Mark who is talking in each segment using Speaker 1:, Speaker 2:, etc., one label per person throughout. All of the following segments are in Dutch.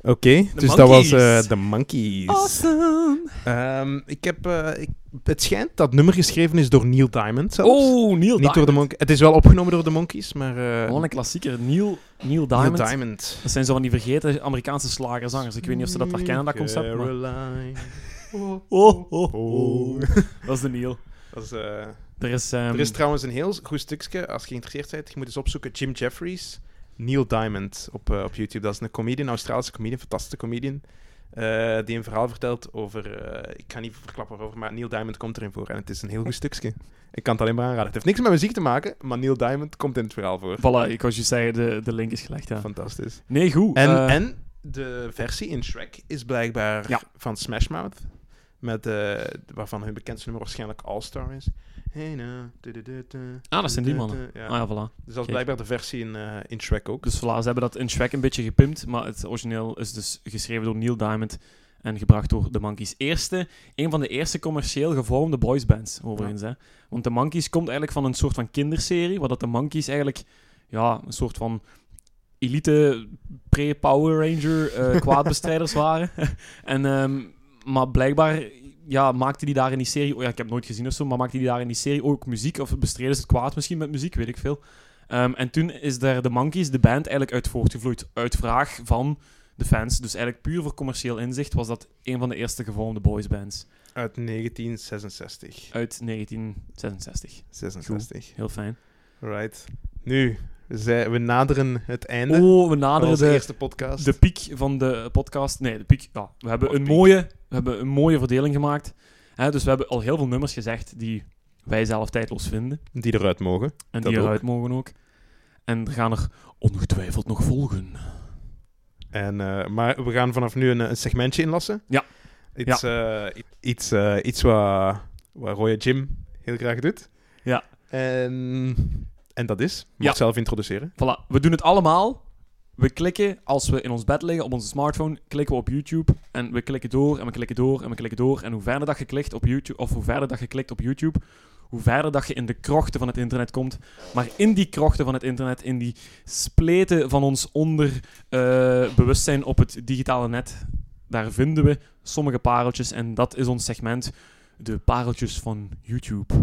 Speaker 1: Oké, dus dat was
Speaker 2: Monkeys.
Speaker 1: eh The Monkeys.
Speaker 2: Awesome.
Speaker 1: Ehm, ik heb, eh, ik- het schijnt dat het nummer geschreven is door Neil Diamond zelfs.
Speaker 2: Oh, Neil
Speaker 1: Niet door
Speaker 2: Diamond.
Speaker 1: de Monkeys. Het is wel opgenomen door de Monkeys, maar... eh,
Speaker 2: Gewoon een klassieker. Neil, Neil
Speaker 1: Neil
Speaker 2: Diamond.
Speaker 1: Diamond.
Speaker 2: Dat zijn zo van die vergeten Amerikaanse slagerzangers. Ik weet niet of ze dat herkennen, dat concept. Maar...
Speaker 1: Caroline.
Speaker 2: Oh, oh,
Speaker 1: Oh.
Speaker 2: oh. Dat is de Neil.
Speaker 1: Dat is, eh,
Speaker 2: Er is... ehm,
Speaker 1: Er is trouwens een heel goed stukje, als je geïnteresseerd bent, je moet eens opzoeken, Jim Jeffries, Neil Diamond op, eh, op YouTube. Dat is een comedian, Australische comedian, fantastische comedian, eh, die een verhaal vertelt over, eh, ik ga niet verklappen waarover, maar Neil Diamond komt erin voor. En het is een heel goed stukje. Ik kan het alleen maar aanraden. Het heeft niks met muziek te maken, maar Neil Diamond komt in het verhaal voor.
Speaker 2: Voilà, ik was je zeggen, de, de link is gelegd, ja.
Speaker 1: Fantastisch.
Speaker 2: Nee, goed.
Speaker 1: En,
Speaker 2: eh,
Speaker 1: en de versie in Shrek is blijkbaar
Speaker 2: Ja.
Speaker 1: van Smash Mouth. Met, eh, waarvan hun bekendste nummer waarschijnlijk All Star is. Hey, nou, du-du-du-du,
Speaker 2: Ah, dat zijn die
Speaker 1: du-du-du-du. Ja.
Speaker 2: Ah, ja, voilà.
Speaker 1: Dus dat is
Speaker 2: Kijk.
Speaker 1: blijkbaar de versie in, eh, in Shrek ook.
Speaker 2: Dus voilà, ze hebben dat in Shrek een beetje gepimpt, maar het origineel is dus geschreven door Neil Diamond en gebracht door de Monkeys. Eerste, een van de eerste commercieel gevormde boysbands, overigens. Hè. Want de Monkeys komt eigenlijk van een soort van kinderserie, waar dat de Monkeys eigenlijk ja, een soort van elite pre-Power Ranger eh, kwaadbestrijders waren. en, ehm, maar blijkbaar ja, maakte die daar in die serie, oh ja, ik heb het nooit gezien of zo, maar maakte die daar in die serie ook muziek, of bestreden ze het kwaad misschien met muziek, weet ik veel. Ehm, en toen is daar de Monkeys, de band, eigenlijk uit voortgevloeid. Uit vraag van de fans. Dus eigenlijk puur voor commercieel inzicht was dat een van de eerste gevormde boysbands.
Speaker 1: Uit 1966.
Speaker 2: Uit 1966.
Speaker 1: 66.
Speaker 2: Heel fijn.
Speaker 1: Right. Nu, we, zijn- we naderen het einde.
Speaker 2: Oh, we
Speaker 1: van
Speaker 2: naderen
Speaker 1: onze
Speaker 2: de,
Speaker 1: eerste podcast.
Speaker 2: de piek van de podcast. Nee, de piek. Ja, we, hebben
Speaker 1: Oh,
Speaker 2: een
Speaker 1: piek.
Speaker 2: mooie, we hebben een mooie verdeling gemaakt. Hè, dus we hebben al heel veel nummers gezegd die wij zelf tijdloos vinden.
Speaker 1: Die eruit mogen.
Speaker 2: En
Speaker 1: Dat
Speaker 2: die
Speaker 1: ook.
Speaker 2: eruit mogen ook. En er gaan er ongetwijfeld nog volgen.
Speaker 1: En, eh, maar we gaan vanaf nu een, een segmentje inlassen.
Speaker 2: Ja.
Speaker 1: Iets, eh, i- iets, eh, iets wat, wat Roya Jim heel graag doet.
Speaker 2: Ja.
Speaker 1: En, en dat is, mag
Speaker 2: Ja.
Speaker 1: zelf introduceren.
Speaker 2: Voilà, we doen het allemaal. We klikken als we in ons bed liggen op onze smartphone, klikken we op YouTube en we klikken door en we klikken door en we klikken door. En hoe verder dat je klikt op YouTube, of hoe verder dat je klikt op YouTube, hoe verder dat je in de krochten van het internet komt. Maar in die krochten van het internet, in die spleten van ons onderbewustzijn bewustzijn op het digitale net, daar vinden we sommige pareltjes en dat is ons segment, de pareltjes van YouTube.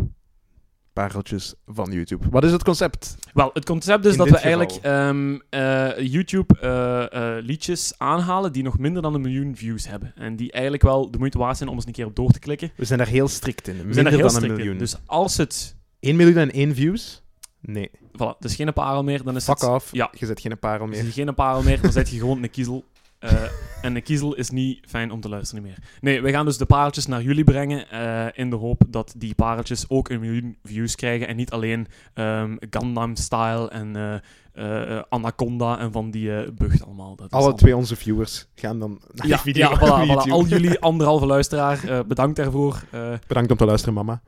Speaker 1: Pareltjes van YouTube. Wat is het concept?
Speaker 2: Wel, het concept is
Speaker 1: In
Speaker 2: dat we
Speaker 1: dit
Speaker 2: eigenlijk ehm, eh, YouTube eh, eh, liedjes aanhalen die nog minder dan een miljoen views hebben. En die eigenlijk wel de moeite waard zijn om eens een keer op door te klikken.
Speaker 1: We zijn daar heel strikt in. Minder
Speaker 2: We zijn er heel
Speaker 1: dan
Speaker 2: strikt
Speaker 1: een
Speaker 2: in.
Speaker 1: miljoen.
Speaker 2: Dus als het...
Speaker 1: 1 miljoen en 1 views? Nee.
Speaker 2: Voilà, het is geen parel meer, dan is
Speaker 1: Fuck
Speaker 2: het...
Speaker 1: off.
Speaker 2: Ja.
Speaker 1: Je zet geen parel
Speaker 2: Is
Speaker 1: meer.
Speaker 2: het geen parel meer, dan zet je gewoon een kiezel. Eh, en een kiezel is niet fijn om te luisteren meer. Nee, we gaan dus de pareltjes naar jullie brengen. eh, in de hoop dat die pareltjes ook een miljoen views krijgen. En niet alleen ehm Gundam Style en eh, eh, eh, Anaconda en van die eh bucht allemaal. Dat is
Speaker 1: Alle
Speaker 2: allemaal-
Speaker 1: twee onze viewers gaan dan naar
Speaker 2: Ja,
Speaker 1: die video
Speaker 2: ja
Speaker 1: op
Speaker 2: voilà,
Speaker 1: YouTube.
Speaker 2: voilà. al jullie anderhalve luisteraar, eh, bedankt daarvoor. Eh,
Speaker 1: Bedankt om te luisteren, mama.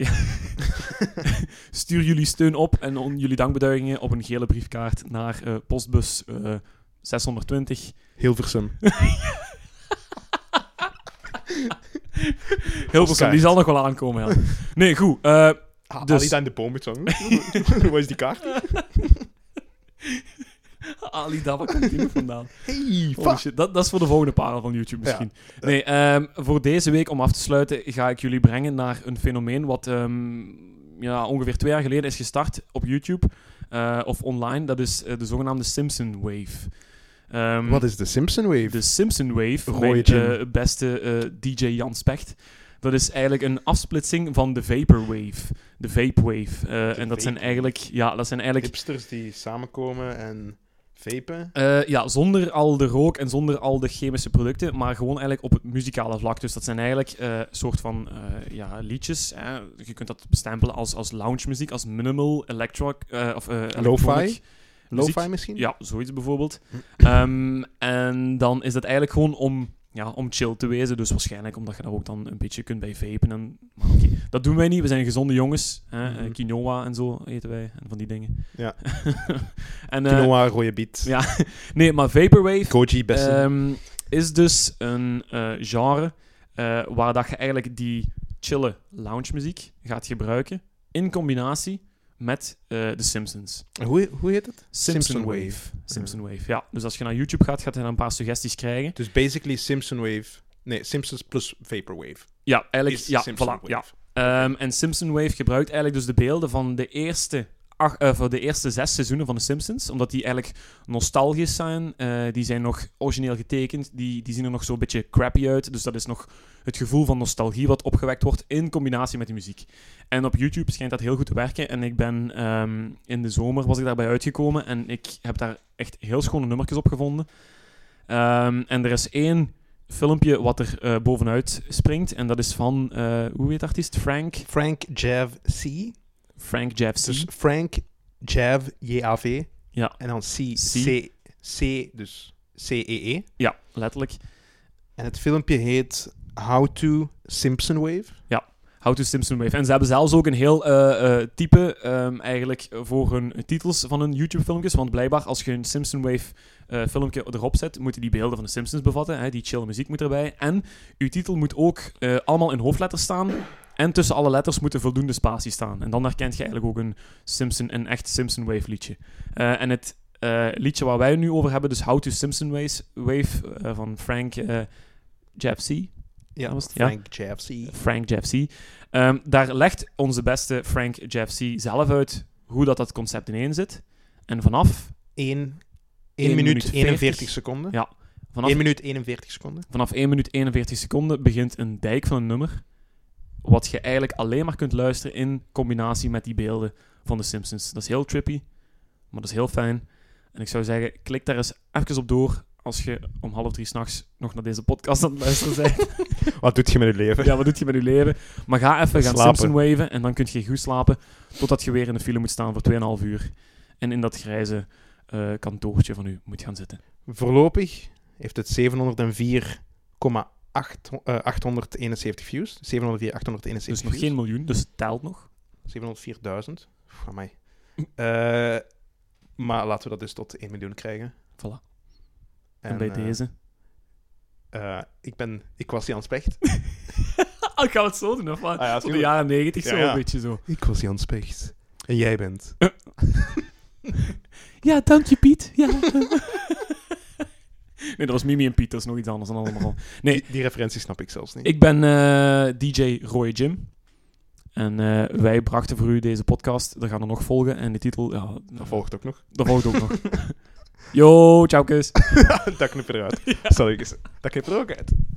Speaker 2: stuur jullie steun op en on- jullie dankbeduigingen op een gele briefkaart naar eh, postbus eh, 620
Speaker 1: Hilversum.
Speaker 2: Hilversum. Die zal nog wel aankomen. Ja. Nee, goed. eh, Dus-
Speaker 1: Dus... aan de boom met zo'n... Waar is die kaart?
Speaker 2: Ali, daar waar komt die nog vandaan?
Speaker 1: Hey,
Speaker 2: Holy shit, dat, dat is voor de volgende parel van YouTube misschien. Nee, ehm, voor deze week, om af te sluiten, ga ik jullie brengen naar een fenomeen wat ehm, ja, ongeveer twee jaar geleden is gestart op YouTube eh, of online. Dat is eh, de zogenaamde Simpson Wave. Ehm,
Speaker 1: Wat is de Simpson Wave?
Speaker 2: de Simpson Wave,
Speaker 1: Rode
Speaker 2: mijn
Speaker 1: gin.
Speaker 2: eh, beste eh, DJ Jan Specht. Dat is eigenlijk een afsplitsing van de Vaporwave. De Vaporwave. Eh, en dat
Speaker 1: vape.
Speaker 2: zijn eigenlijk... Ja, dat zijn eigenlijk...
Speaker 1: Hipsters die samenkomen en vapen.
Speaker 2: Eh, ja, zonder al de rook en zonder al de chemische producten, maar gewoon eigenlijk op het muzikale vlak. Dus dat zijn eigenlijk eh soort van eh, ja, liedjes. Hè. Je kunt dat bestempelen als, als lounge muziek, als minimal, electro... eh, of, eh, electronic muziek.
Speaker 1: Lo-fi misschien? Hm.
Speaker 2: Ja, zoiets bijvoorbeeld. Ehm, en dan is dat eigenlijk gewoon om, ja, om chill te wezen. Dus waarschijnlijk omdat je daar ook dan een beetje kunt bij vapen. En, maar oké, dat doen wij niet. We zijn gezonde jongens. Hè? Eh,
Speaker 1: Mhm.
Speaker 2: quinoa en zo eten wij. En van die dingen.
Speaker 1: Ja.
Speaker 2: en, eh,
Speaker 1: Quinoa, rode biet.
Speaker 2: ja. nee, maar Vaporwave
Speaker 1: Koji bessen.
Speaker 2: ehm, is dus een eh, genre eh, waar dat je eigenlijk die chille lounge muziek gaat gebruiken in combinatie met eh The Simpsons.
Speaker 1: Hoe, hoe heet het?
Speaker 2: Simpson,
Speaker 1: Simpson
Speaker 2: Wave.
Speaker 1: Wave.
Speaker 2: Simpson Wave, ja. Dus als je naar YouTube gaat, gaat je dan een paar suggesties krijgen.
Speaker 1: Dus basically Simpson Wave. Nee, Simpsons plus Vaporwave.
Speaker 2: Ja, eigenlijk,
Speaker 1: Is
Speaker 2: ja,
Speaker 1: Simpson
Speaker 2: voilà,
Speaker 1: Wave.
Speaker 2: ja. Ehm, en Simpson Wave gebruikt eigenlijk dus de beelden van de eerste, ach, eh, van de eerste zes seizoenen van de Simpsons. Omdat die eigenlijk nostalgisch zijn. Eh, die zijn nog origineel getekend. Die, die zien er nog zo'n beetje crappy uit. Dus dat is nog het gevoel van nostalgie wat opgewekt wordt in combinatie met de muziek. En op YouTube schijnt dat heel goed te werken. En ik ben ehm, in de zomer was ik daarbij uitgekomen. En ik heb daar echt heel schone nummertjes op gevonden. Ehm, en er is één filmpje wat er eh, bovenuit springt. En dat is van, eh, hoe heet de artiest? Frank.
Speaker 1: Frank Jav C.
Speaker 2: Frank Jeff C.
Speaker 1: Dus Frank Jav J-A-V.
Speaker 2: Ja.
Speaker 1: En dan C.
Speaker 2: C.
Speaker 1: C. C. Dus C-E-E.
Speaker 2: Ja, letterlijk.
Speaker 1: En het filmpje heet How to Simpson Wave.
Speaker 2: How to Simpson Wave. En ze hebben zelfs ook een heel eh, eh, type ehm, eigenlijk voor hun titels van hun YouTube-filmpjes. Want blijkbaar, als je een Simpson Wave eh, filmpje erop zet, moeten die beelden van de Simpsons bevatten. Hè? Die chill muziek moet erbij. En uw titel moet ook eh, allemaal in hoofdletters staan. En tussen alle letters moeten voldoende spatie staan. En dan herkent je eigenlijk ook een, Simpson, een echt Simpson Wave liedje. Eh, en het eh, liedje waar wij het nu over hebben, dus How to Simpson Waves- Wave eh, van Frank eh Jeff C.
Speaker 1: Ja,
Speaker 2: Dat was het, ja.
Speaker 1: Frank Jav C. E
Speaker 2: Frank Jeff C. Ehm, daar legt onze beste Frank Jeff C. zelf uit hoe dat, dat concept ineen zit. En vanaf,
Speaker 1: 1,
Speaker 2: Eén
Speaker 1: minuut,
Speaker 2: minuut
Speaker 1: 41
Speaker 2: 40
Speaker 1: seconden.
Speaker 2: Ja, vanaf,
Speaker 1: 1 minuut 41 seconden.
Speaker 2: vanaf 1 minuut 41 seconden begint een dijk van een nummer. Wat je eigenlijk alleen maar kunt luisteren in combinatie met die beelden van de Simpsons. Dat is heel trippy, maar dat is heel fijn. En ik zou zeggen, klik daar eens even op door als je om half drie s'nachts nog naar deze podcast aan het luisteren bent.
Speaker 1: Wat doet je met je leven?
Speaker 2: Ja, wat doet je met je leven? Maar ga even gaan
Speaker 1: Slapen.
Speaker 2: Simpson waven en dan kun je goed slapen totdat je weer in de file moet staan voor 2,5 uur. En in dat grijze eh, kantoortje van u moet gaan zitten. Dus
Speaker 1: Voorlopig heeft het 704,871 eh, views. 704, 871
Speaker 2: Dus nog
Speaker 1: views.
Speaker 2: geen miljoen, dus het telt nog.
Speaker 1: 704.000. Van mij. Eh, maar laten we dat dus tot 1 miljoen krijgen.
Speaker 2: Voilà. En,
Speaker 1: En,
Speaker 2: bij
Speaker 1: eh,
Speaker 2: deze...
Speaker 1: eh, ik, ben, ik was Jan Specht.
Speaker 2: Ah, ik ga het zo doen, of wat?
Speaker 1: Ah ja,
Speaker 2: Tot de
Speaker 1: tuurlijk.
Speaker 2: jaren 90 zo,
Speaker 1: Ja, ja.
Speaker 2: een beetje zo.
Speaker 1: Ik was Jan Specht. En jij bent.
Speaker 2: Ja, dank je Piet. Ja. nee, dat was Mimi en Piet, dat is nog iets anders dan allemaal. Nee.
Speaker 1: Die, die referentie snap ik zelfs niet.
Speaker 2: Ik ben eh, DJ Roy Jim. En eh, wij brachten voor u deze podcast. Er gaan er nog volgen. En de titel... Ja,
Speaker 1: Dat volgt ook nog.
Speaker 2: Dat volgt ook nog. Yo, ciao, kus.
Speaker 1: dat knip eruit. Sorry, dat knip er ook uit.